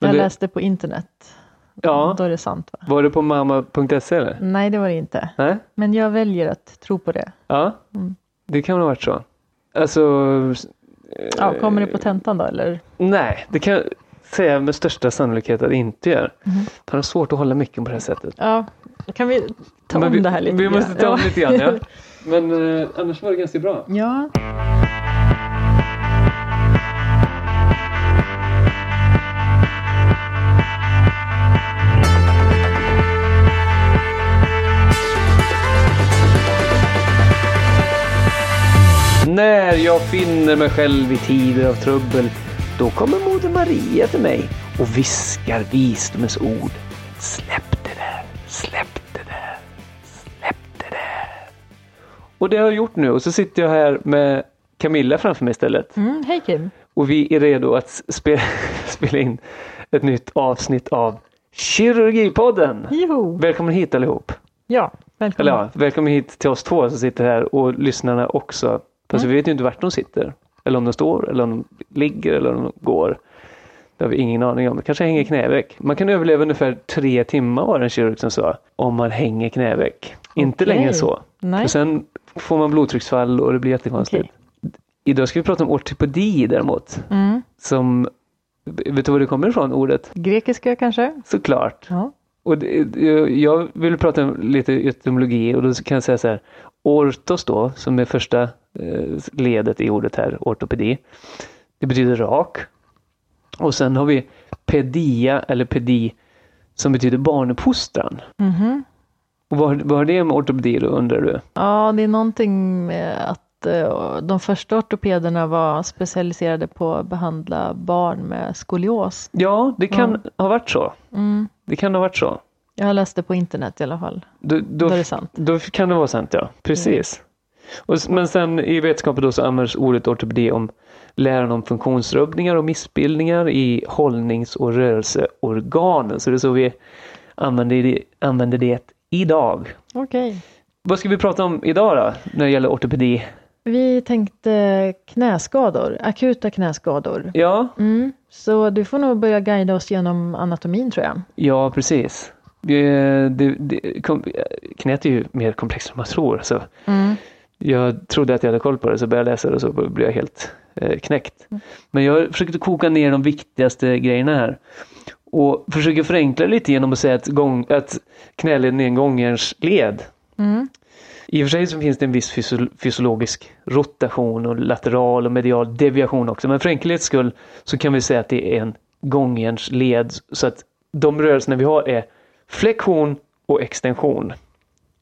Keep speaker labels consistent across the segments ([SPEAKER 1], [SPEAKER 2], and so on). [SPEAKER 1] Men
[SPEAKER 2] Jag
[SPEAKER 1] det-
[SPEAKER 2] läste på internet.
[SPEAKER 1] Ja.
[SPEAKER 2] Då är det sant va?
[SPEAKER 1] Var du på mamma.se eller?
[SPEAKER 2] Nej, det var det inte.
[SPEAKER 1] Nej?
[SPEAKER 2] Men jag väljer att tro på det.
[SPEAKER 1] Ja,
[SPEAKER 2] Mm.
[SPEAKER 1] det kan väl ha varit så. Alltså,
[SPEAKER 2] Ja,
[SPEAKER 1] Eh.
[SPEAKER 2] kommer det på tentan då eller?
[SPEAKER 1] nej, det kan jag säga med största sannolikhet att det inte gör.
[SPEAKER 2] Mm-hmm.
[SPEAKER 1] Han har svårt att hålla mycket på det här sättet.
[SPEAKER 2] Ja, kan vi ta
[SPEAKER 1] Men
[SPEAKER 2] om
[SPEAKER 1] vi,
[SPEAKER 2] det här lite
[SPEAKER 1] Vi
[SPEAKER 2] grann?
[SPEAKER 1] måste ta om lite grann, ja. Men eh, annars var det ganska bra.
[SPEAKER 2] Ja,
[SPEAKER 1] När jag finner mig själv i tider av trubbel, då kommer Moder Maria till mig och viskar visdomens ord. Släpp det där, släpp det där, släpp det där. Och det har jag gjort nu och så sitter jag här med Camilla framför mig istället.
[SPEAKER 2] mm, hej Kim.
[SPEAKER 1] Och vi är redo att spe- spela in ett nytt avsnitt av Kirurgipodden.
[SPEAKER 2] Joho.
[SPEAKER 1] Välkommen hit allihop.
[SPEAKER 2] Ja,
[SPEAKER 1] Eller
[SPEAKER 2] välkommen.
[SPEAKER 1] ja, välkommen hit till oss två som sitter här och lyssnarna också. Fast
[SPEAKER 2] Mm.
[SPEAKER 1] vi vet ju inte vart de sitter. Eller om de står, eller om de ligger, eller om de går. Det har vi ingen aning om. Det kanske hänger knäveck. Man kan överleva ungefär tre timmar var det en kirurg som sa. Om man hänger knäveck. Inte
[SPEAKER 2] Okej.
[SPEAKER 1] längre än så.
[SPEAKER 2] Nej.
[SPEAKER 1] För sen får man blodtrycksfall och det blir jättekonstigt.
[SPEAKER 2] Okej.
[SPEAKER 1] Idag ska vi prata om ortopedi däremot.
[SPEAKER 2] Mm.
[SPEAKER 1] Som, vet du var det kommer ifrån ordet?
[SPEAKER 2] Grekiska kanske?
[SPEAKER 1] Såklart.
[SPEAKER 2] Ja.
[SPEAKER 1] Och det, det- jag vill prata om lite etymologi och då kan jag säga så här. Ortos då, som är första eh, ledet i ordet här, ortopedi. Det betyder rak. Och sen har vi pedia eller pedi som betyder barnuppfostran.
[SPEAKER 2] Mhm.
[SPEAKER 1] Och vad, vad har det med ortopedi då undrar du?
[SPEAKER 2] Ja, det är någonting med att eh, de första ortopederna var specialiserade på att behandla barn med skolios.
[SPEAKER 1] Ja, det kan ha varit så.
[SPEAKER 2] Mm.
[SPEAKER 1] Det kan ha varit så.
[SPEAKER 2] Jag läste på internet i alla fall.
[SPEAKER 1] Då,
[SPEAKER 2] Då
[SPEAKER 1] då,
[SPEAKER 2] är det sant. Mm.
[SPEAKER 1] Då kan det vara sant, ja. Precis. Och, s- men sen i vetskapen då så används ordet ortopedi om läran om funktionsrubbningar och missbildningar i hållnings och rörelseorganen. Så det är så vi använder det, använder det idag.
[SPEAKER 2] Okej.
[SPEAKER 1] Vad ska vi prata om idag då, när det gäller ortopedi?
[SPEAKER 2] Vi tänkte knäskador, akuta knäskador.
[SPEAKER 1] Ja,
[SPEAKER 2] Mm. Så du får nog börja guida oss genom anatomin tror jag.
[SPEAKER 1] ja precis. Eh, Det, det, kom, eh, knät är ju mer komplext än man tror. Så
[SPEAKER 2] Mm.
[SPEAKER 1] Jag trodde att jag hade koll på det så började jag läsa det och så blev jag helt eh, knäckt. Men jag försökte koka ner de viktigaste grejerna här. Och försöker förenkla lite genom att säga att, gång, att knäleden är en gångjärnsled.
[SPEAKER 2] Mm.
[SPEAKER 1] I och för sig så finns det en viss fysio- fysiologisk rotation och lateral och medial deviation också. Men för enkelhets skull så kan vi säga att det är en gångjärnsled. Så att de rörelserna vi har är flexion och extension.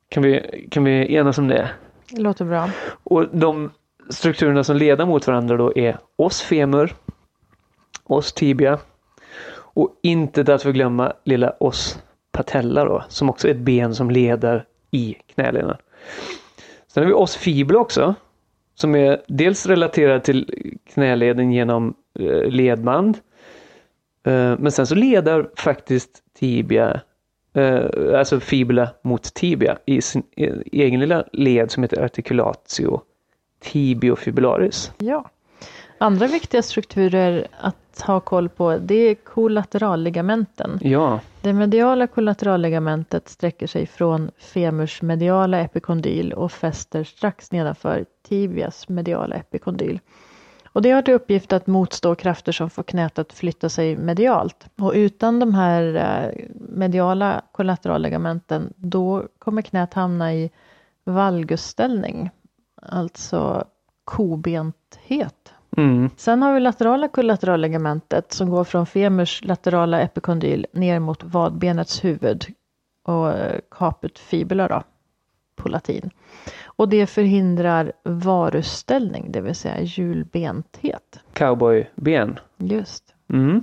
[SPEAKER 1] Kan vi, kan vi enas om det?
[SPEAKER 2] Det låter bra.
[SPEAKER 1] Och de strukturerna som leder mot varandra då är oss femur, oss tibia och inte att förglömma lilla oss patella då, som också är ett ben som leder i knäleden. Sen har vi oss fibula också, som är dels relaterad till knäleden genom eh, ledband, eh, men sen så leder faktiskt tibia, eh, alltså fibula mot tibia i sin eh, egen lilla led som heter articulatio tibiofibularis.
[SPEAKER 2] Ja. Andra viktiga strukturer att ha koll på det är kollateralligamenten.
[SPEAKER 1] Ja,
[SPEAKER 2] Det mediala kollateralligamentet sträcker sig från femurs mediala epikondyl och fäster strax nedanför tibias mediala epikondyl. Och det har till uppgift att motstå krafter som får knät att flytta sig medialt. Och utan de här eh, mediala kollateralligamenten då kommer knät hamna i valgusställning, alltså kobenthet.
[SPEAKER 1] mm.
[SPEAKER 2] Sen har vi laterala kollateralligamentet som går från femurs laterala epikondyl ner mot vadbenets huvud och eh, caput fibula då, på latin. Och det förhindrar varusställning, det vill säga hjulbenthet.
[SPEAKER 1] cowboyben.
[SPEAKER 2] Just.
[SPEAKER 1] Mm.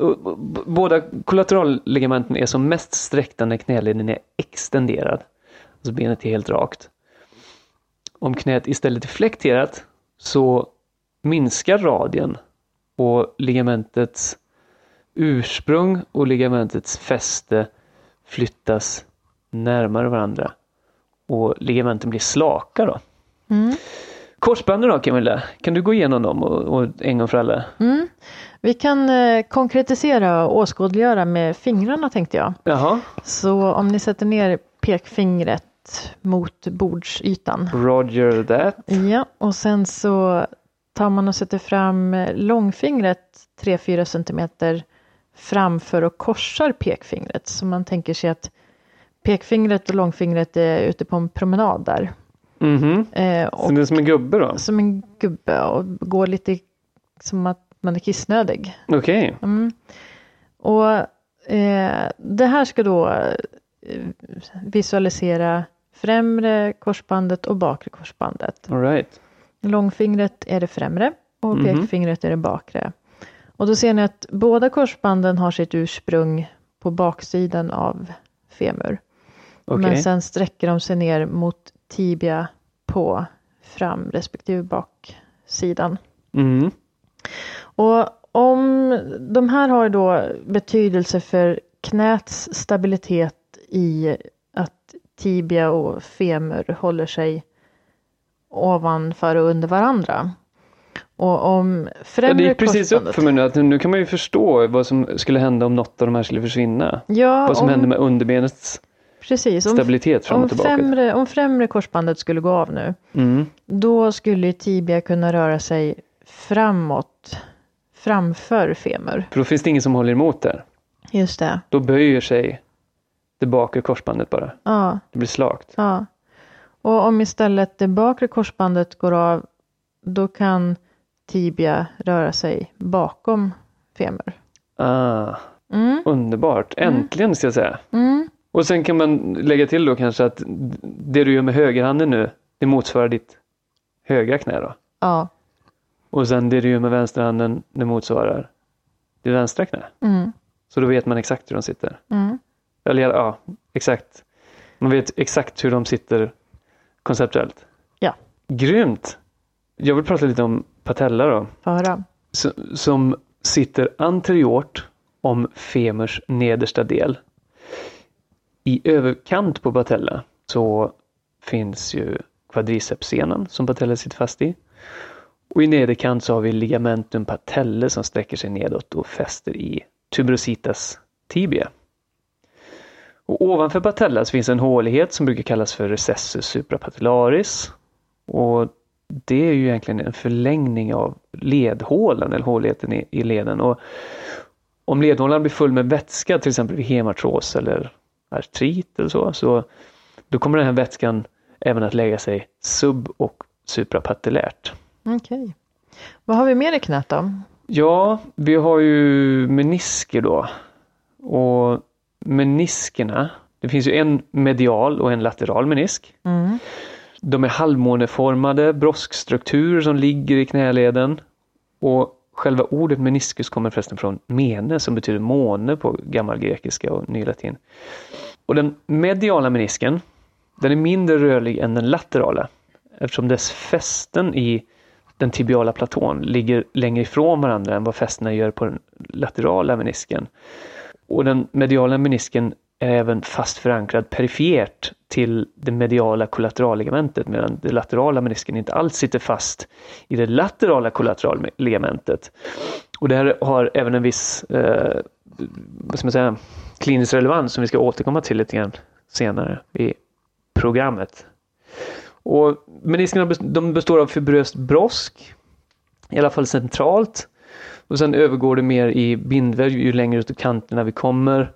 [SPEAKER 1] Och b- b- Båda kollateralligamenten är som mest sträckta när knäleden är extenderad. Alltså benet är helt rakt. Om knät istället är flekterat så minskar radien och ligamentets ursprung och ligamentets fäste flyttas närmare varandra. Och ligamenten blir slaka då.
[SPEAKER 2] Mm.
[SPEAKER 1] Korsbanden då Camilla, kan du gå igenom dem och, och en gång för alla?
[SPEAKER 2] Mm. Vi kan eh, konkretisera och åskådliggöra med fingrarna tänkte jag.
[SPEAKER 1] Jaha,
[SPEAKER 2] Så om ni sätter ner pekfingret mot bordsytan.
[SPEAKER 1] Roger that.
[SPEAKER 2] Ja, och sen så tar man och sätter fram eh, långfingret 3-4 centimeter framför och korsar pekfingret. Så man tänker sig att pekfingret och långfingret är ute på en promenad där.
[SPEAKER 1] Mhm.
[SPEAKER 2] Eh,
[SPEAKER 1] Så
[SPEAKER 2] och
[SPEAKER 1] det är som en gubbe då?
[SPEAKER 2] som en gubbe och går lite som att man är kissnödig.
[SPEAKER 1] Okej.
[SPEAKER 2] Mm. Och eh, det här ska då eh, visualisera främre korsbandet och bakre korsbandet.
[SPEAKER 1] All right.
[SPEAKER 2] Långfingret är det främre och
[SPEAKER 1] Mhm.
[SPEAKER 2] pekfingret är det bakre. Och då ser ni att båda korsbanden har sitt ursprung på baksidan av femur.
[SPEAKER 1] Okej.
[SPEAKER 2] Men sen sträcker de sig ner mot tibia på fram respektive baksidan.
[SPEAKER 1] Mm.
[SPEAKER 2] Och om de här har då betydelse för knäts stabilitet i att tibia och femur håller sig ovanför och under varandra. Och om
[SPEAKER 1] Ja, det
[SPEAKER 2] främre
[SPEAKER 1] gick precis upp
[SPEAKER 2] korsbandet...
[SPEAKER 1] för mig nu att nu kan man ju förstå vad som skulle hända om något av de här skulle försvinna.
[SPEAKER 2] Ja,
[SPEAKER 1] vad som
[SPEAKER 2] om,
[SPEAKER 1] händer med underbenets
[SPEAKER 2] precis, om,
[SPEAKER 1] stabilitet fram
[SPEAKER 2] om,
[SPEAKER 1] och tillbaka.
[SPEAKER 2] främre, om främre korsbandet skulle gå av nu,
[SPEAKER 1] Mm.
[SPEAKER 2] då skulle ju tibia kunna röra sig framåt, framför femur.
[SPEAKER 1] För då finns det ingen som håller emot där.
[SPEAKER 2] Just det.
[SPEAKER 1] Då böjer sig det bakre korsbandet bara.
[SPEAKER 2] Ja.
[SPEAKER 1] Det blir slakt.
[SPEAKER 2] Ja. Och om istället det bakre korsbandet går av, då kan tibia röra sig bakom femur.
[SPEAKER 1] Ah,
[SPEAKER 2] Mm,
[SPEAKER 1] underbart. Äntligen ska jag säga.
[SPEAKER 2] mm,
[SPEAKER 1] Och sen kan man lägga till då kanske att det du gör med högerhanden nu, det motsvarar ditt högra knä då.
[SPEAKER 2] ja,
[SPEAKER 1] Och sen det du gör med vänsterhanden, det motsvarar ditt vänstra knä.
[SPEAKER 2] mm,
[SPEAKER 1] Så då vet man exakt hur de sitter.
[SPEAKER 2] mm,
[SPEAKER 1] Eller ja, exakt. Man vet exakt hur de sitter konceptuellt.
[SPEAKER 2] Ja.
[SPEAKER 1] Grymt! Jag vill prata lite om patella då.
[SPEAKER 2] föra.
[SPEAKER 1] s- som sitter anteriort om femurs nedersta del. I överkant på patella så finns ju kvadricepssenan som patella sitter fast i. Och i nederkant så har vi ligamentum patelle som sträcker sig nedåt och fäster i tuberositas tibia. Och ovanför patella så finns en hålighet som brukar kallas för recessus suprapatellaris. Och det är ju egentligen en förlängning av ledhålan eller håligheten i, i leden. Och om ledhålan blir full med vätska, till exempel vid hemartros eller artrit eller så, så då kommer den här vätskan även att lägga sig sub och suprapatellärt.
[SPEAKER 2] Okej. Vad har vi mer i knät då?
[SPEAKER 1] Ja, vi har ju menisker då. Och meniskerna, det finns ju en medial och en lateral menisk.
[SPEAKER 2] Mm,
[SPEAKER 1] De är halvmåneformade broskstrukturer som ligger i knäleden. Och själva ordet meniskus kommer förresten från mene som betyder måne på gammal grekiska och nylatin. Och den mediala menisken, den är mindre rörlig än den laterala eftersom dess fästen i den tibiala platån ligger längre ifrån varandra än vad fästena gör på den laterala menisken. Och den mediala menisken är även fast förankrad perifert till det mediala kollateralligamentet medan det laterala menisken inte alls sitter fast i det laterala kollateralligamentet. Och det här har även en viss eh, vad ska man säga, klinisk relevans som vi ska återkomma till lite grann senare i programmet. Och meniskerna bes- de består av fibröst brosk, i alla fall centralt. Och sen övergår det mer i bindväv ju längre ut i kanterna vi kommer.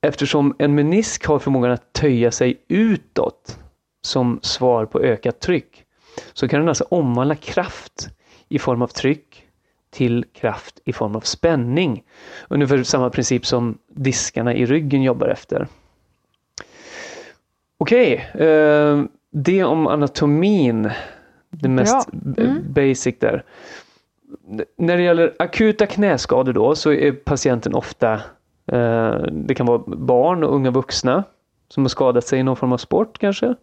[SPEAKER 1] Eftersom en menisk har förmågan att töja sig utåt som svar på ökat tryck så kan den alltså omvandla kraft i form av tryck till kraft i form av spänning. Ungefär samma princip som diskarna i ryggen jobbar efter. Okej, eh, det om anatomin. Det mest b-
[SPEAKER 2] Mm.
[SPEAKER 1] basic där. N- När det gäller akuta knäskador då så är patienten ofta, eh, det kan vara barn och unga vuxna som har skadat sig i någon form av sport kanske.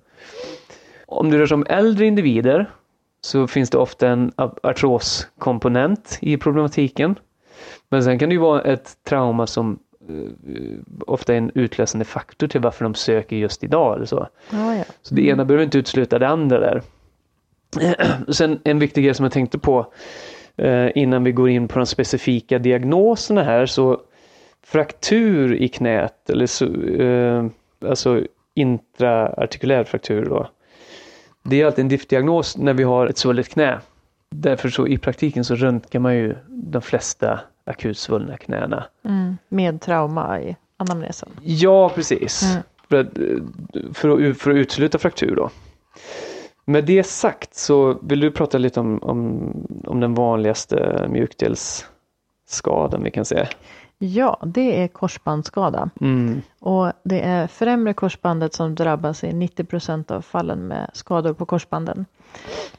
[SPEAKER 1] Om det rör sig om äldre individer så finns det ofta en a- artroskomponent i problematiken. Men sen kan det ju vara ett trauma som eh, ofta är en utlösande faktor till varför de söker just idag. Eller så.
[SPEAKER 2] ja, ja.
[SPEAKER 1] Så det ena behöver inte utesluta det andra där. Sen en viktig grej som jag tänkte på eh, innan vi går in på de specifika diagnoserna här så fraktur i knät eller så, eh, alltså intraartikulär fraktur då. Det är alltid en diff-diagnos när vi har ett svullet knä. Därför så i praktiken så röntgar man ju de flesta akut svullna knäna.
[SPEAKER 2] Mm. Med trauma i anamnesen.
[SPEAKER 1] Ja, precis.
[SPEAKER 2] Mm.
[SPEAKER 1] För, att, för, att, för att utesluta fraktur då. Med det sagt så vill du prata lite om, om, om den vanligaste mjukdelsskadan vi kan se.
[SPEAKER 2] Ja, det är korsbandsskada.
[SPEAKER 1] Mm.
[SPEAKER 2] Och det är främre korsbandet som drabbas i 90 procent av fallen med skador på korsbanden.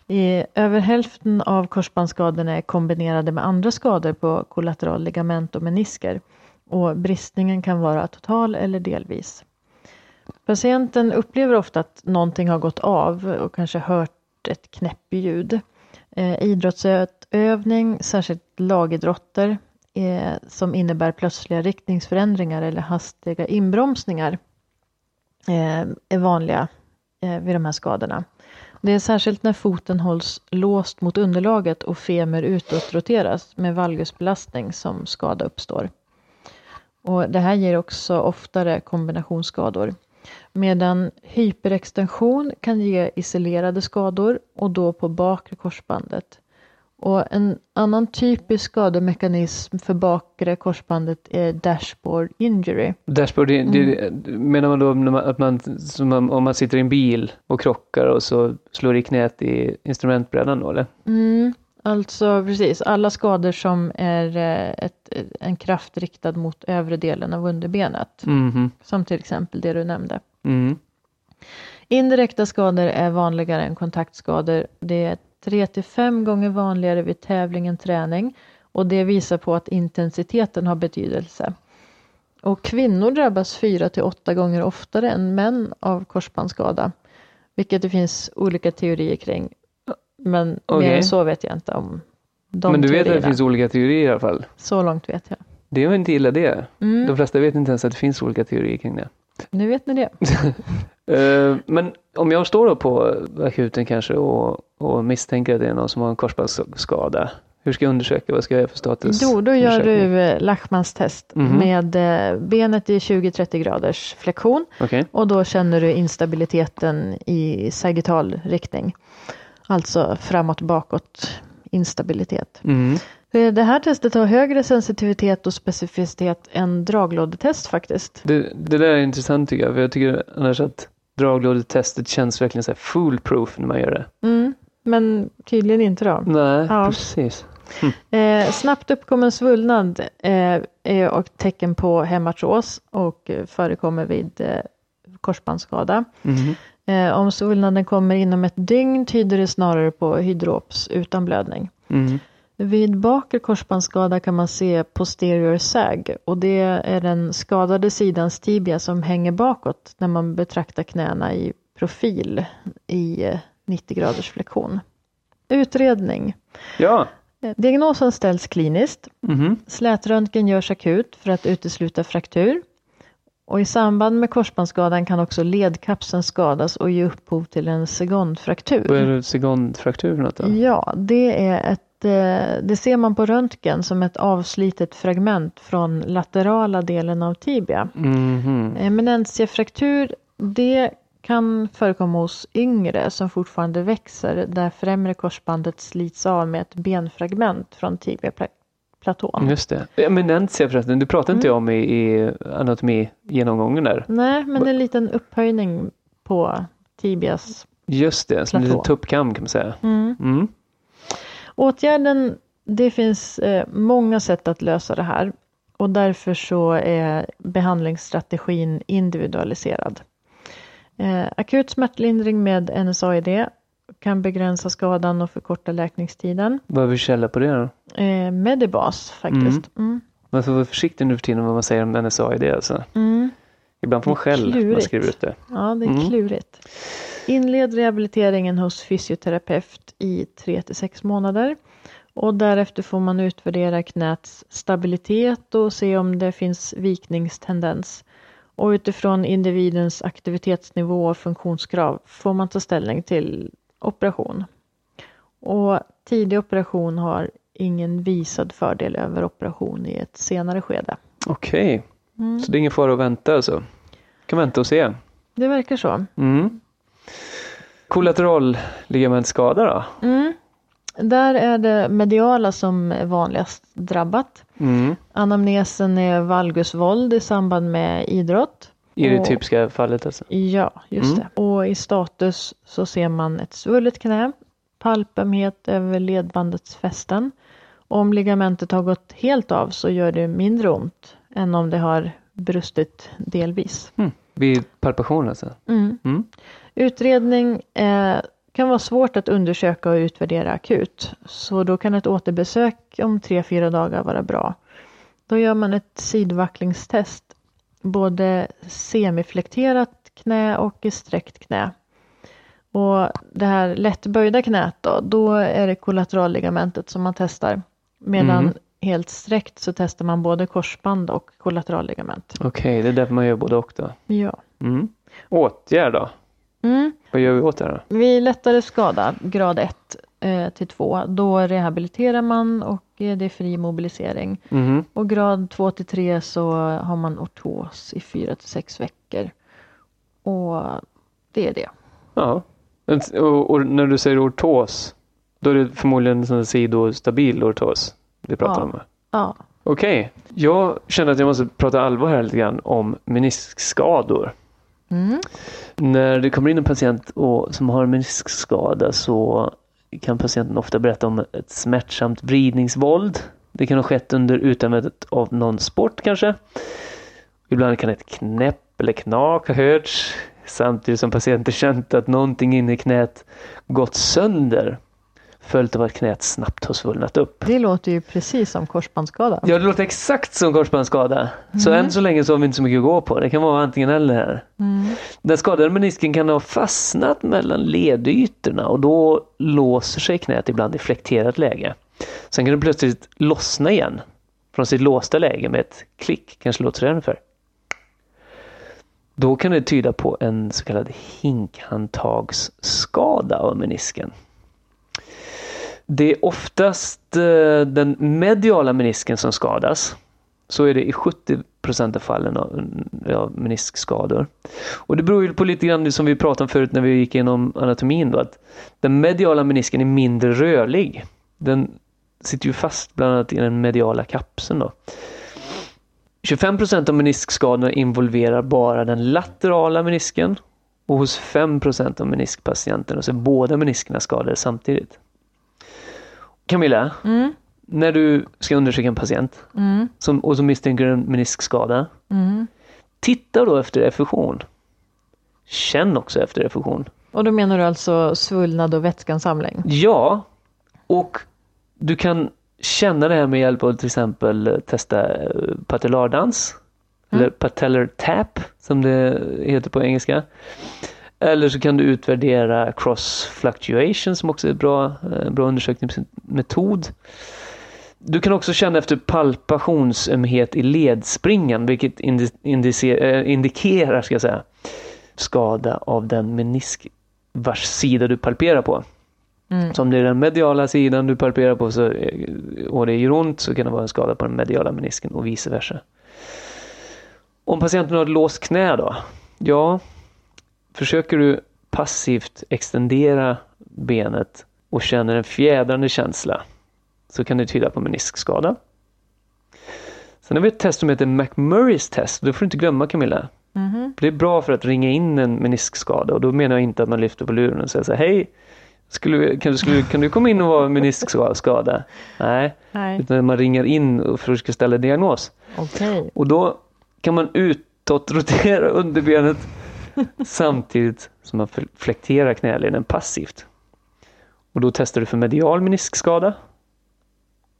[SPEAKER 2] I över hälften av korsbandsskadorna är kombinerade med andra skador på kollateral ligament och menisker. Och bristningen kan vara total eller delvis. Patienten upplever ofta att någonting har gått av och kanske hört ett knäppljud. Eh, idrottsutövning, särskilt lagidrotter, eh, som innebär plötsliga riktningsförändringar eller hastiga inbromsningar eh, är vanliga eh, vid de här skadorna. Det är särskilt när foten hålls låst mot underlaget och femur utåtroteras med valgusbelastning som skada uppstår. Och det här ger också oftare kombinationsskador. Medan hyperextension kan ge isolerade skador och då på bakre korsbandet. Och en annan typisk skademekanism för bakre korsbandet är dashboard injury.
[SPEAKER 1] Dashboard, det, det, menar man då när man, att man, som om- om man sitter i en bil och krockar och så slår i knät i instrumentbrädan då eller?
[SPEAKER 2] Mm, alltså precis, alla skador som är eh, ett, en kraft riktad mot övre delen av underbenet.
[SPEAKER 1] Mhm.
[SPEAKER 2] Som till exempel det du nämnde.
[SPEAKER 1] Mm.
[SPEAKER 2] Indirekta skador är vanligare än kontaktskador. Det är 3 till 5 gånger vanligare vid tävling än träning och det visar på att intensiteten har betydelse. Och kvinnor drabbas 4 till 8 gånger oftare än män av korsbandsskada, vilket det finns olika teorier kring. Men mer
[SPEAKER 1] Okej.
[SPEAKER 2] än så vet jag inte om de
[SPEAKER 1] Men du vet
[SPEAKER 2] teorierna.
[SPEAKER 1] att det finns olika teorier i alla fall?
[SPEAKER 2] Så långt vet jag.
[SPEAKER 1] Det är väl inte illa det?
[SPEAKER 2] Mm,
[SPEAKER 1] De flesta vet inte ens att det finns olika teorier kring det.
[SPEAKER 2] Nu vet ni det.
[SPEAKER 1] Eh, Men om jag står då på akuten kanske och, och misstänker att det är någon som har en korsbandsskada. Hur ska jag undersöka? Vad ska jag göra för status?
[SPEAKER 2] Jo, då gör
[SPEAKER 1] undersökning?
[SPEAKER 2] du eh, Lachmans test
[SPEAKER 1] Mhm.
[SPEAKER 2] med eh, benet i 20-30 graders flexion
[SPEAKER 1] Okej.
[SPEAKER 2] och då känner du instabiliteten i sagittal riktning. Alltså framåt bakåt instabilitet.
[SPEAKER 1] Mm.
[SPEAKER 2] Eh, Det här testet har högre sensitivitet och specificitet än draglådetest faktiskt.
[SPEAKER 1] Det, det där är intressant tycker jag. För jag tycker annars att draglådetestet känns verkligen så här foolproof när man gör det.
[SPEAKER 2] Mm, men tydligen inte då.
[SPEAKER 1] Nej,
[SPEAKER 2] Ja.
[SPEAKER 1] precis.
[SPEAKER 2] Eh, snabbt uppkommen svullnad eh, är och tecken på hemartros och eh, förekommer vid eh, korsbandsskada.
[SPEAKER 1] Mhm.
[SPEAKER 2] Eh, om svullnaden kommer inom ett dygn tyder det snarare på hydrops utan blödning.
[SPEAKER 1] Mm.
[SPEAKER 2] Vid bakre korsbandsskada kan man se posterior sag och det är den skadade sidans tibia som hänger bakåt när man betraktar knäna i profil i eh, 90 graders flexion. Utredning.
[SPEAKER 1] Ja.
[SPEAKER 2] Eh, Diagnosen ställs kliniskt.
[SPEAKER 1] Mhm.
[SPEAKER 2] Slätröntgen görs akut för att utesluta fraktur. Och I samband med korsbandsskadan kan också ledkapseln skadas och ge upphov till en
[SPEAKER 1] Då är
[SPEAKER 2] segondfraktur.
[SPEAKER 1] det segondfraktur eller något då?
[SPEAKER 2] Ja, det, är ett, eh, det ser man på röntgen som ett avslitet fragment från laterala delen av tibia.
[SPEAKER 1] Mhm.
[SPEAKER 2] Eminentiefraktur, det kan förekomma hos yngre som fortfarande växer där främre korsbandet slits av med ett benfragment från tibiaplatån.
[SPEAKER 1] Just det. Eminentia förresten, det pratade
[SPEAKER 2] Mm.
[SPEAKER 1] inte jag om i, i anatomigenomgången där.
[SPEAKER 2] Nej, men en liten upphöjning på tibias.
[SPEAKER 1] Just det, som en liten
[SPEAKER 2] Platå.
[SPEAKER 1] tuppkam kan man säga. Mm.
[SPEAKER 2] Åtgärden, det finns eh, många sätt att lösa det här och därför så är behandlingsstrategin individualiserad. Eh, akut smärtlindring med NSAID kan begränsa skadan och förkorta läkningstiden.
[SPEAKER 1] Vad är vi källa på det då?
[SPEAKER 2] Eh, Medibas faktiskt. Mm.
[SPEAKER 1] Man får vara försiktig nu för tiden vad man säger om NSA-idé alltså.
[SPEAKER 2] Mm.
[SPEAKER 1] Ibland får man själv när man
[SPEAKER 2] Klurigt.
[SPEAKER 1] skriver ut det.
[SPEAKER 2] Ja, det är
[SPEAKER 1] Mm.
[SPEAKER 2] klurigt. Inled rehabiliteringen hos fysioterapeut i 3 till 6 månader och därefter får man utvärdera knäts stabilitet och se om det finns vikningstendens. Och utifrån individens aktivitetsnivå och funktionskrav får man ta ställning till operation. Och tidig operation har ingen visad fördel över operation i ett senare skede.
[SPEAKER 1] Okej,
[SPEAKER 2] Mm.
[SPEAKER 1] så det är ingen fara att vänta alltså? kan vänta och se.
[SPEAKER 2] Det verkar så.
[SPEAKER 1] Mm. Kollateralligamentskada då?
[SPEAKER 2] Mm. Där är det mediala som är vanligast drabbat.
[SPEAKER 1] Mm.
[SPEAKER 2] Anamnesen är valgusvåld i samband med idrott.
[SPEAKER 1] I det
[SPEAKER 2] Och-
[SPEAKER 1] typiska fallet alltså?
[SPEAKER 2] Ja, just
[SPEAKER 1] Mm.
[SPEAKER 2] det. Och i status så ser man ett svullet knä, palpamhet över ledbandets fästen. Om ligamentet har gått helt av så gör det mindre ont än om det har brustit delvis.
[SPEAKER 1] Mm. Vid palpation alltså?
[SPEAKER 2] Mm.
[SPEAKER 1] Mm.
[SPEAKER 2] Utredning eh, kan vara svårt att undersöka och utvärdera akut. Så då kan ett återbesök om 3-4 dagar vara bra. Då gör man ett sidvacklingstest. Både semiflekterat knä och i sträckt knä. Och det här lättböjda knät då, då är det kollateralligamentet som man testar. Medan
[SPEAKER 1] Mm.
[SPEAKER 2] helt sträckt så testar man både korsband och kollateralligament.
[SPEAKER 1] Okej, det är därför man gör både och då?
[SPEAKER 2] Ja.
[SPEAKER 1] Mm. Åtgärd då?
[SPEAKER 2] Mm.
[SPEAKER 1] Vad gör vi åt det här då?
[SPEAKER 2] Vid lättare skada, grad 1 eh, till 2, då rehabiliterar man och eh, det är fri mobilisering.
[SPEAKER 1] Mhm.
[SPEAKER 2] Och grad 2 till 3 så har man ortos i 4 till 6 veckor. Och det är det.
[SPEAKER 1] Ja. Men s- Och, och när du säger ortos, då är det förmodligen en sån här sidostabil ortos vi pratar
[SPEAKER 2] Ja.
[SPEAKER 1] om? va?
[SPEAKER 2] Ja.
[SPEAKER 1] Okej, jag känner att jag måste prata allvar här lite grann om meniskskador.
[SPEAKER 2] Mm.
[SPEAKER 1] När det kommer in en patient och, som har en meniskskada så kan patienten ofta berätta om ett smärtsamt vridningsvåld. Det kan ha skett under utövandet av någon sport kanske. Ibland kan ett knäpp eller knak ha hörts samtidigt som patienten känt att någonting inne i knät gått sönder följt av att knät snabbt har svullnat upp.
[SPEAKER 2] Det låter ju precis som korsbandsskada.
[SPEAKER 1] Ja, det låter exakt som korsbandsskada. Så än så länge så har vi inte så mycket att gå på. Det kan vara antingen eller här.
[SPEAKER 2] Mm.
[SPEAKER 1] Den skadade menisken kan ha fastnat mellan ledytorna och då låser sig knät ibland i flekterat läge. Sen kan det plötsligt lossna igen från sitt låsta läge med ett klick. Kanske låter det ungefär. Då kan det tyda på en så kallad hinkhandtagsskada av menisken. Det är oftast eh, den mediala menisken som skadas. Så är det i 70 procent av fallen av, av meniskskador. Och det beror ju på lite grann det som vi pratade om förut när vi gick igenom anatomin. Då, att den mediala menisken är mindre rörlig. Den sitter ju fast bland annat i den mediala kapseln. Då. 25 procent av meniskskadorna involverar bara den laterala menisken. Och hos 5 procent av meniskpatienterna så är båda meniskerna skadade samtidigt. Camilla,
[SPEAKER 2] Mm.
[SPEAKER 1] när du ska undersöka en patient
[SPEAKER 2] Mm.
[SPEAKER 1] som, och som misstänker en meniskskada,
[SPEAKER 2] Mm.
[SPEAKER 1] titta då efter effusion. Känn också efter effusion.
[SPEAKER 2] Och då menar du alltså svullnad och vätskansamling?
[SPEAKER 1] Ja, och du kan känna det här med hjälp av till exempel eh, testa eh, patellardans. Eller patellar tap som det heter på engelska. Eller så kan du utvärdera cross fluctuation som också är en bra, eh, bra undersökningsmetod. Du kan också känna efter palpationsömhet i ledspringan vilket indi- indice- eh, indikerar ska jag säga, skada av den menisk vars sida du palperar på.
[SPEAKER 2] Mm.
[SPEAKER 1] Så om det är den mediala sidan du palperar på så, eh, och det gör ont så kan det vara en skada på den mediala menisken och vice versa. Om patienten har ett låst knä då? Ja, försöker du passivt extendera benet och känner en fjädrande känsla så kan det tyda på meniskskada. Sen har vi ett test som heter McMurrays test. Det får du inte glömma Camilla.
[SPEAKER 2] Mhm.
[SPEAKER 1] Det är bra för att ringa in en meniskskada och då menar jag inte att man lyfter på luren och säger så här, hej, skulle, vi- kan, du, skulle, kan du komma in och vara meniskskada? Nej,
[SPEAKER 2] Nej.
[SPEAKER 1] utan man ringer in och försöker ställa diagnos.
[SPEAKER 2] Okej.
[SPEAKER 1] Och då kan man utåtrotera underbenet samtidigt som man fl- flekterar knäleden passivt. Och då testar du för medial meniskskada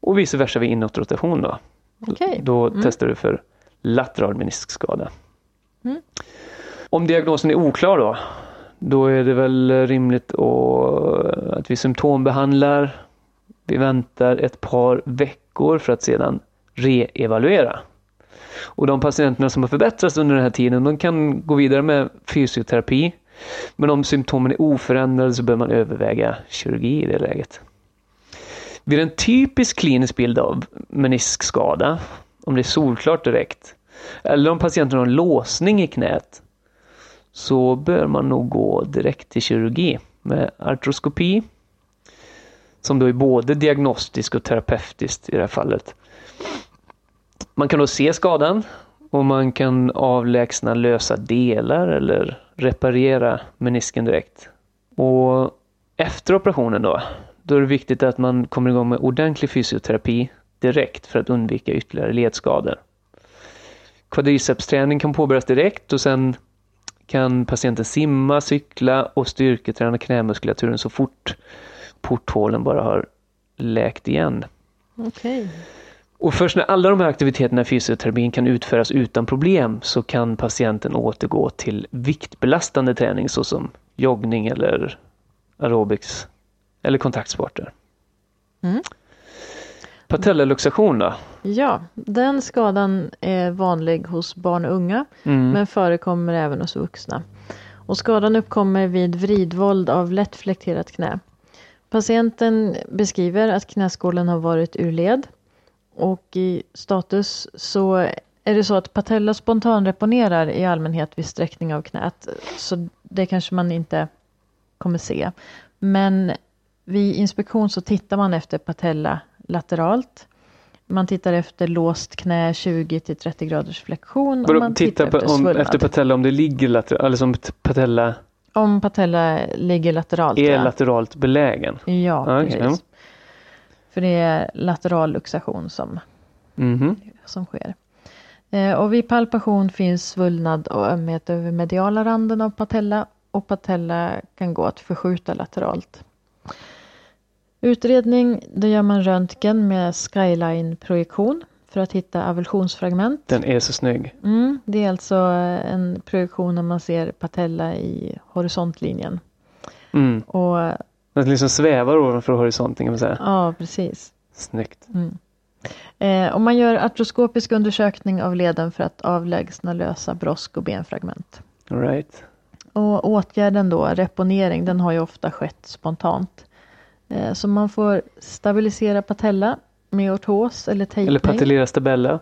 [SPEAKER 1] och vice versa vid inåtrotation då.
[SPEAKER 2] Okej.
[SPEAKER 1] Då testar du för lateral meniskskada. Om diagnosen är oklar då, då är det väl rimligt att, att vi symptombehandlar. Vi väntar ett par veckor för att sedan reevaluera. Och de patienterna som har förbättrats under den här tiden, de kan gå vidare med fysioterapi. Men om symptomen är oförändrade så bör man överväga kirurgi i det läget. Vid en typisk klinisk bild av meniskskada, om det är solklart direkt, eller om patienten har en låsning i knät, så bör man nog gå direkt till kirurgi med artroskopi, som då är både diagnostisk och terapeutiskt i det här fallet. Man kan då se skadan och man kan avlägsna lösa delar eller reparera menisken direkt. Och efter operationen då, då är det viktigt att man kommer igång med ordentlig fysioterapi direkt för att undvika ytterligare ledskador. Kvadricepsträning kan påbörjas direkt och sen kan patienten simma, cykla och styrketräna knämuskulaturen så fort porthålen bara har läkt igen.
[SPEAKER 2] Okej.
[SPEAKER 1] Och först när alla de här aktiviteterna i fysioterapin kan utföras utan problem så kan patienten återgå till viktbelastande träning såsom joggning eller aerobics eller kontaktsporter.
[SPEAKER 2] Mm.
[SPEAKER 1] Patellaluxation då?
[SPEAKER 2] Ja, den skadan är vanlig hos barn och unga
[SPEAKER 1] Mm.
[SPEAKER 2] men förekommer även hos vuxna. Och skadan uppkommer vid vridvåld av lätt flekterat knä. Patienten beskriver att knäskålen har varit ur led och i status så är det så att patella spontanreponerar i allmänhet vid sträckning av knät så det kanske man inte kommer se. Men vid inspektion så tittar man efter patella lateralt. Man tittar efter låst knä 20 till 30 graders flexion. och
[SPEAKER 1] Vadå,
[SPEAKER 2] man
[SPEAKER 1] titta på, om,
[SPEAKER 2] svullnad.
[SPEAKER 1] efter patella om det ligger lateralt, eller som t- patella
[SPEAKER 2] Om patella ligger lateralt.
[SPEAKER 1] är
[SPEAKER 2] ja.
[SPEAKER 1] lateralt belägen.
[SPEAKER 2] Ja,
[SPEAKER 1] Ja, okej.
[SPEAKER 2] precis. För det är lateral luxation som,
[SPEAKER 1] Mhm.
[SPEAKER 2] som sker. Eh, och vid palpation finns svullnad och ömhet över mediala randen av patella och patella kan gå att förskjuta lateralt. Utredning, då gör man röntgen med skyline-projektion för att hitta avulsionsfragment.
[SPEAKER 1] Den är så snygg.
[SPEAKER 2] Mm, det är alltså en projektion när man ser patella i horisontlinjen.
[SPEAKER 1] Mm.
[SPEAKER 2] Och,
[SPEAKER 1] Den liksom svävar ovanför horisonten kan man säga.
[SPEAKER 2] ja, precis.
[SPEAKER 1] Snyggt.
[SPEAKER 2] Eh, och man gör artroskopisk undersökning av leden för att avlägsna lösa brosk och benfragment.
[SPEAKER 1] All right.
[SPEAKER 2] Och åtgärden då, reponering, den har ju ofta skett spontant. Eh, så man får stabilisera patella med ortos eller tejpning.
[SPEAKER 1] Eller patellera stabella.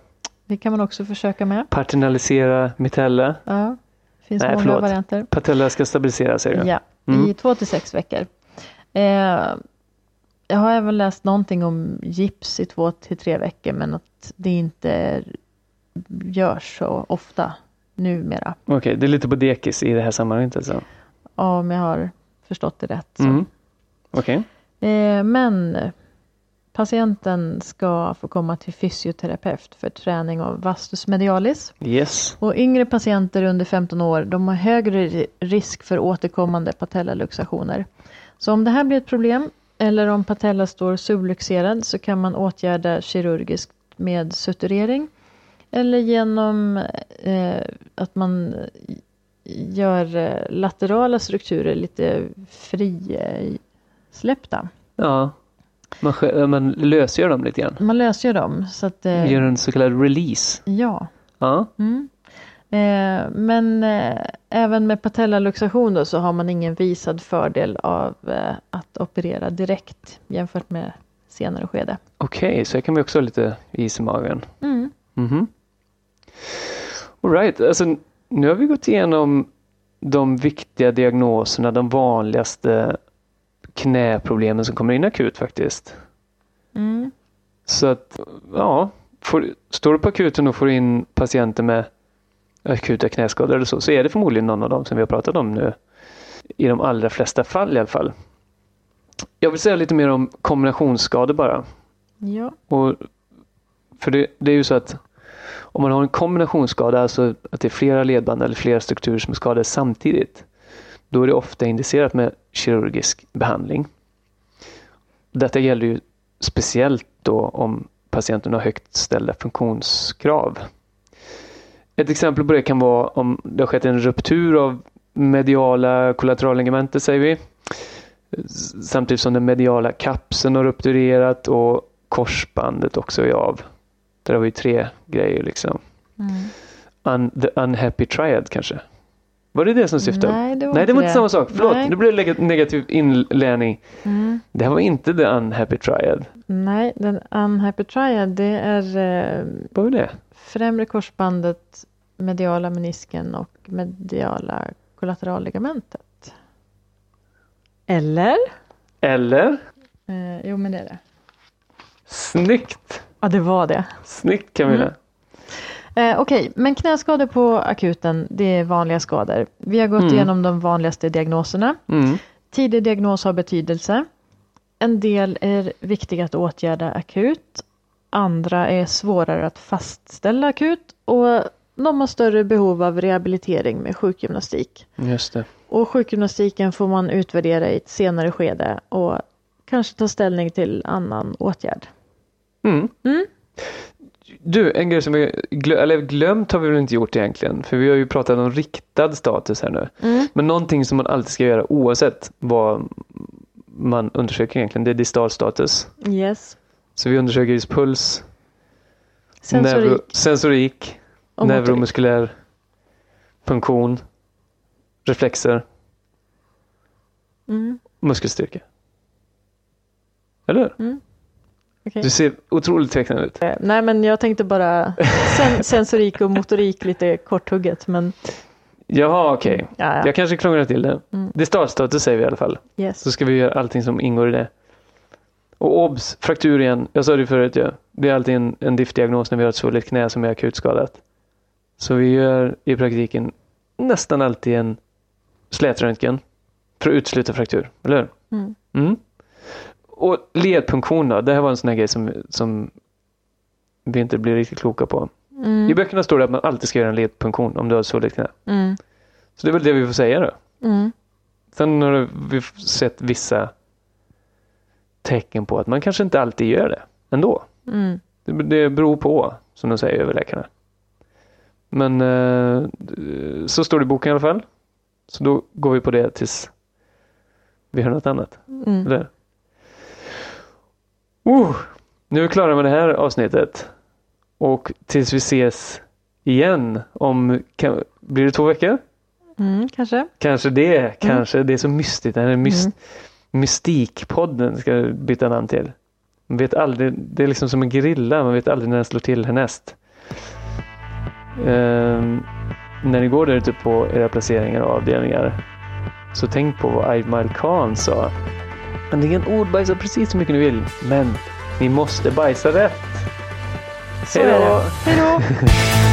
[SPEAKER 2] Det kan man också försöka med.
[SPEAKER 1] Paternalisera mitella.
[SPEAKER 2] Ja, det finns
[SPEAKER 1] Nej,
[SPEAKER 2] många
[SPEAKER 1] förlåt.
[SPEAKER 2] varianter.
[SPEAKER 1] Patella ska stabiliseras säger du?
[SPEAKER 2] Ja,
[SPEAKER 1] Mm.
[SPEAKER 2] i två till sex veckor. Eh, jag har även läst någonting om gips i två till tre veckor men att det inte är- görs så ofta numera.
[SPEAKER 1] Okej, det är lite på dekis i det här sammanhanget alltså.
[SPEAKER 2] Om jag har förstått det rätt. Så.
[SPEAKER 1] Mm. Okej.
[SPEAKER 2] Eh, men patienten ska få komma till fysioterapeut för träning av vastus medialis.
[SPEAKER 1] Yes.
[SPEAKER 2] Och yngre patienter under 15 år de har högre ri- risk för återkommande patellaluxationer. Så om det här blir ett problem eller om patella står subluxerad så kan man åtgärda kirurgiskt med suturering eller genom eh, att man gör eh, laterala strukturer lite frisläppta.
[SPEAKER 1] Ja. Man, skö- man lösgör dem lite grann.
[SPEAKER 2] Man löser ju dem så att... eh,
[SPEAKER 1] Gör en så kallad release.
[SPEAKER 2] ja.
[SPEAKER 1] Ja.
[SPEAKER 2] Mm. Eh, men eh, även med patellaluxation då, så har man ingen visad fördel av eh, att operera direkt jämfört med senare skede.
[SPEAKER 1] Okej, så här kan vi också ha lite is i magen.
[SPEAKER 2] Mm.
[SPEAKER 1] Mhm. All right. alltså, nu har vi gått igenom de viktiga diagnoserna, de vanligaste knäproblemen som kommer in akut faktiskt.
[SPEAKER 2] Mm.
[SPEAKER 1] Så att, ja, får, står du på akuten och får in patienter med akuta knäskador eller så, så är det förmodligen någon av dem som vi har pratat om nu. I de allra flesta fall i alla fall. Jag vill säga lite mer om kombinationsskador bara.
[SPEAKER 2] Ja.
[SPEAKER 1] Och för det, det är ju så att om man har en kombinationsskada, alltså att det är flera ledband eller flera strukturer som är skadade samtidigt, då är det ofta indicerat med kirurgisk behandling. Detta gäller ju speciellt då om patienten har högt ställda funktionskrav. Ett exempel på det kan vara om det har skett en ruptur av mediala kollateralligamentet säger vi. S- Samtidigt som den mediala kapseln har rupturerat och korsbandet också är av. Där har vi tre grejer liksom.
[SPEAKER 2] Mm.
[SPEAKER 1] Un, the unhappy triad kanske. Var det det som syftade?
[SPEAKER 2] Nej, det var
[SPEAKER 1] Nej,
[SPEAKER 2] inte
[SPEAKER 1] det var inte
[SPEAKER 2] det.
[SPEAKER 1] samma sak. Förlåt,
[SPEAKER 2] Nej.
[SPEAKER 1] nu blev det leg- negativ inlärning.
[SPEAKER 2] Mm.
[SPEAKER 1] Det här var inte The Unhappy Triad.
[SPEAKER 2] Nej, den Unhappy Triad det är eh,
[SPEAKER 1] Vad var det?
[SPEAKER 2] främre korsbandet, mediala menisken och mediala kollateralligamentet. Eller?
[SPEAKER 1] Eller?
[SPEAKER 2] Eh, jo, men det är det.
[SPEAKER 1] Snyggt!
[SPEAKER 2] Ja, det var det.
[SPEAKER 1] Snyggt Camilla.
[SPEAKER 2] Mm. Eh, Okej, men knäskador på akuten, det är vanliga skador. Vi har gått
[SPEAKER 1] Mm.
[SPEAKER 2] igenom de vanligaste diagnoserna.
[SPEAKER 1] Mm.
[SPEAKER 2] Tidig diagnos har betydelse. En del är viktiga att åtgärda akut. Andra är svårare att fastställa akut. Och de har större behov av rehabilitering med sjukgymnastik.
[SPEAKER 1] Just det.
[SPEAKER 2] Och sjukgymnastiken får man utvärdera i ett senare skede och kanske ta ställning till annan åtgärd.
[SPEAKER 1] Mm.
[SPEAKER 2] Mm.
[SPEAKER 1] Du, en grej som vi glö- eller glömt har vi väl inte gjort egentligen. För vi har ju pratat om riktad status här nu.
[SPEAKER 2] Mm.
[SPEAKER 1] Men någonting som man alltid ska göra oavsett vad man undersöker egentligen, det är distal status.
[SPEAKER 2] Yes.
[SPEAKER 1] Så vi undersöker just puls,
[SPEAKER 2] Sensorik
[SPEAKER 1] neuro- sensorik
[SPEAKER 2] och motorik.
[SPEAKER 1] neuromuskulär funktion, reflexer,
[SPEAKER 2] Mm.
[SPEAKER 1] muskelstyrka. Eller hur?
[SPEAKER 2] Mm. okej.
[SPEAKER 1] Du ser otroligt tveksam ut.
[SPEAKER 2] Eh, Nej men jag tänkte bara sen, sensorik och motorik lite korthugget men
[SPEAKER 1] Jaha, okej.
[SPEAKER 2] ja, ja.
[SPEAKER 1] Jag kanske krånglar till det.
[SPEAKER 2] Mm.
[SPEAKER 1] Distalstatus säger vi i alla fall.
[SPEAKER 2] Yes.
[SPEAKER 1] Så ska vi göra allting som ingår i det. Och obs, fraktur igen. Jag sa det förut ju. Det är alltid en, en diff-diagnos när vi har ett svullet knä som är akutskadat. Så vi gör i praktiken nästan alltid en slätröntgen för att utesluta fraktur, eller hur?
[SPEAKER 2] Mm.
[SPEAKER 1] Mm. Och ledpunktion då, det här var en sån här grej som, som vi inte blir riktigt kloka på. I
[SPEAKER 2] Mm.
[SPEAKER 1] böckerna står det att man alltid ska göra en ledpunktion om du har ett svullet knä.
[SPEAKER 2] Mm.
[SPEAKER 1] Så det är väl det vi får säga då.
[SPEAKER 2] Mm.
[SPEAKER 1] Sen har vi sett vissa tecken på att man kanske inte alltid gör det ändå.
[SPEAKER 2] Mm.
[SPEAKER 1] Det, det beror på, som de säger överläkarna. Men eh, så står det i boken i alla fall. Så då går vi på det tills vi hör något annat.
[SPEAKER 2] Mm.
[SPEAKER 1] Eller? Oh, nu är vi klara med det här avsnittet. Och tills vi ses igen om, kan, blir det två veckor?
[SPEAKER 2] Mm. Kanske.
[SPEAKER 1] Kanske det, kanske. Det är så mystigt. Den här myst,
[SPEAKER 2] Mm.
[SPEAKER 1] mystikpodden ska jag byta namn till. Man vet aldrig, det är liksom som en grilla, man vet aldrig när den slår till härnäst. Ehm, när ni går där ute på era placeringar och avdelningar så tänk på vad Aymar Khan sa. Antingen ordbajsa precis så mycket ni vill, men ni måste bajsa rätt.
[SPEAKER 2] Så är det. Hej då!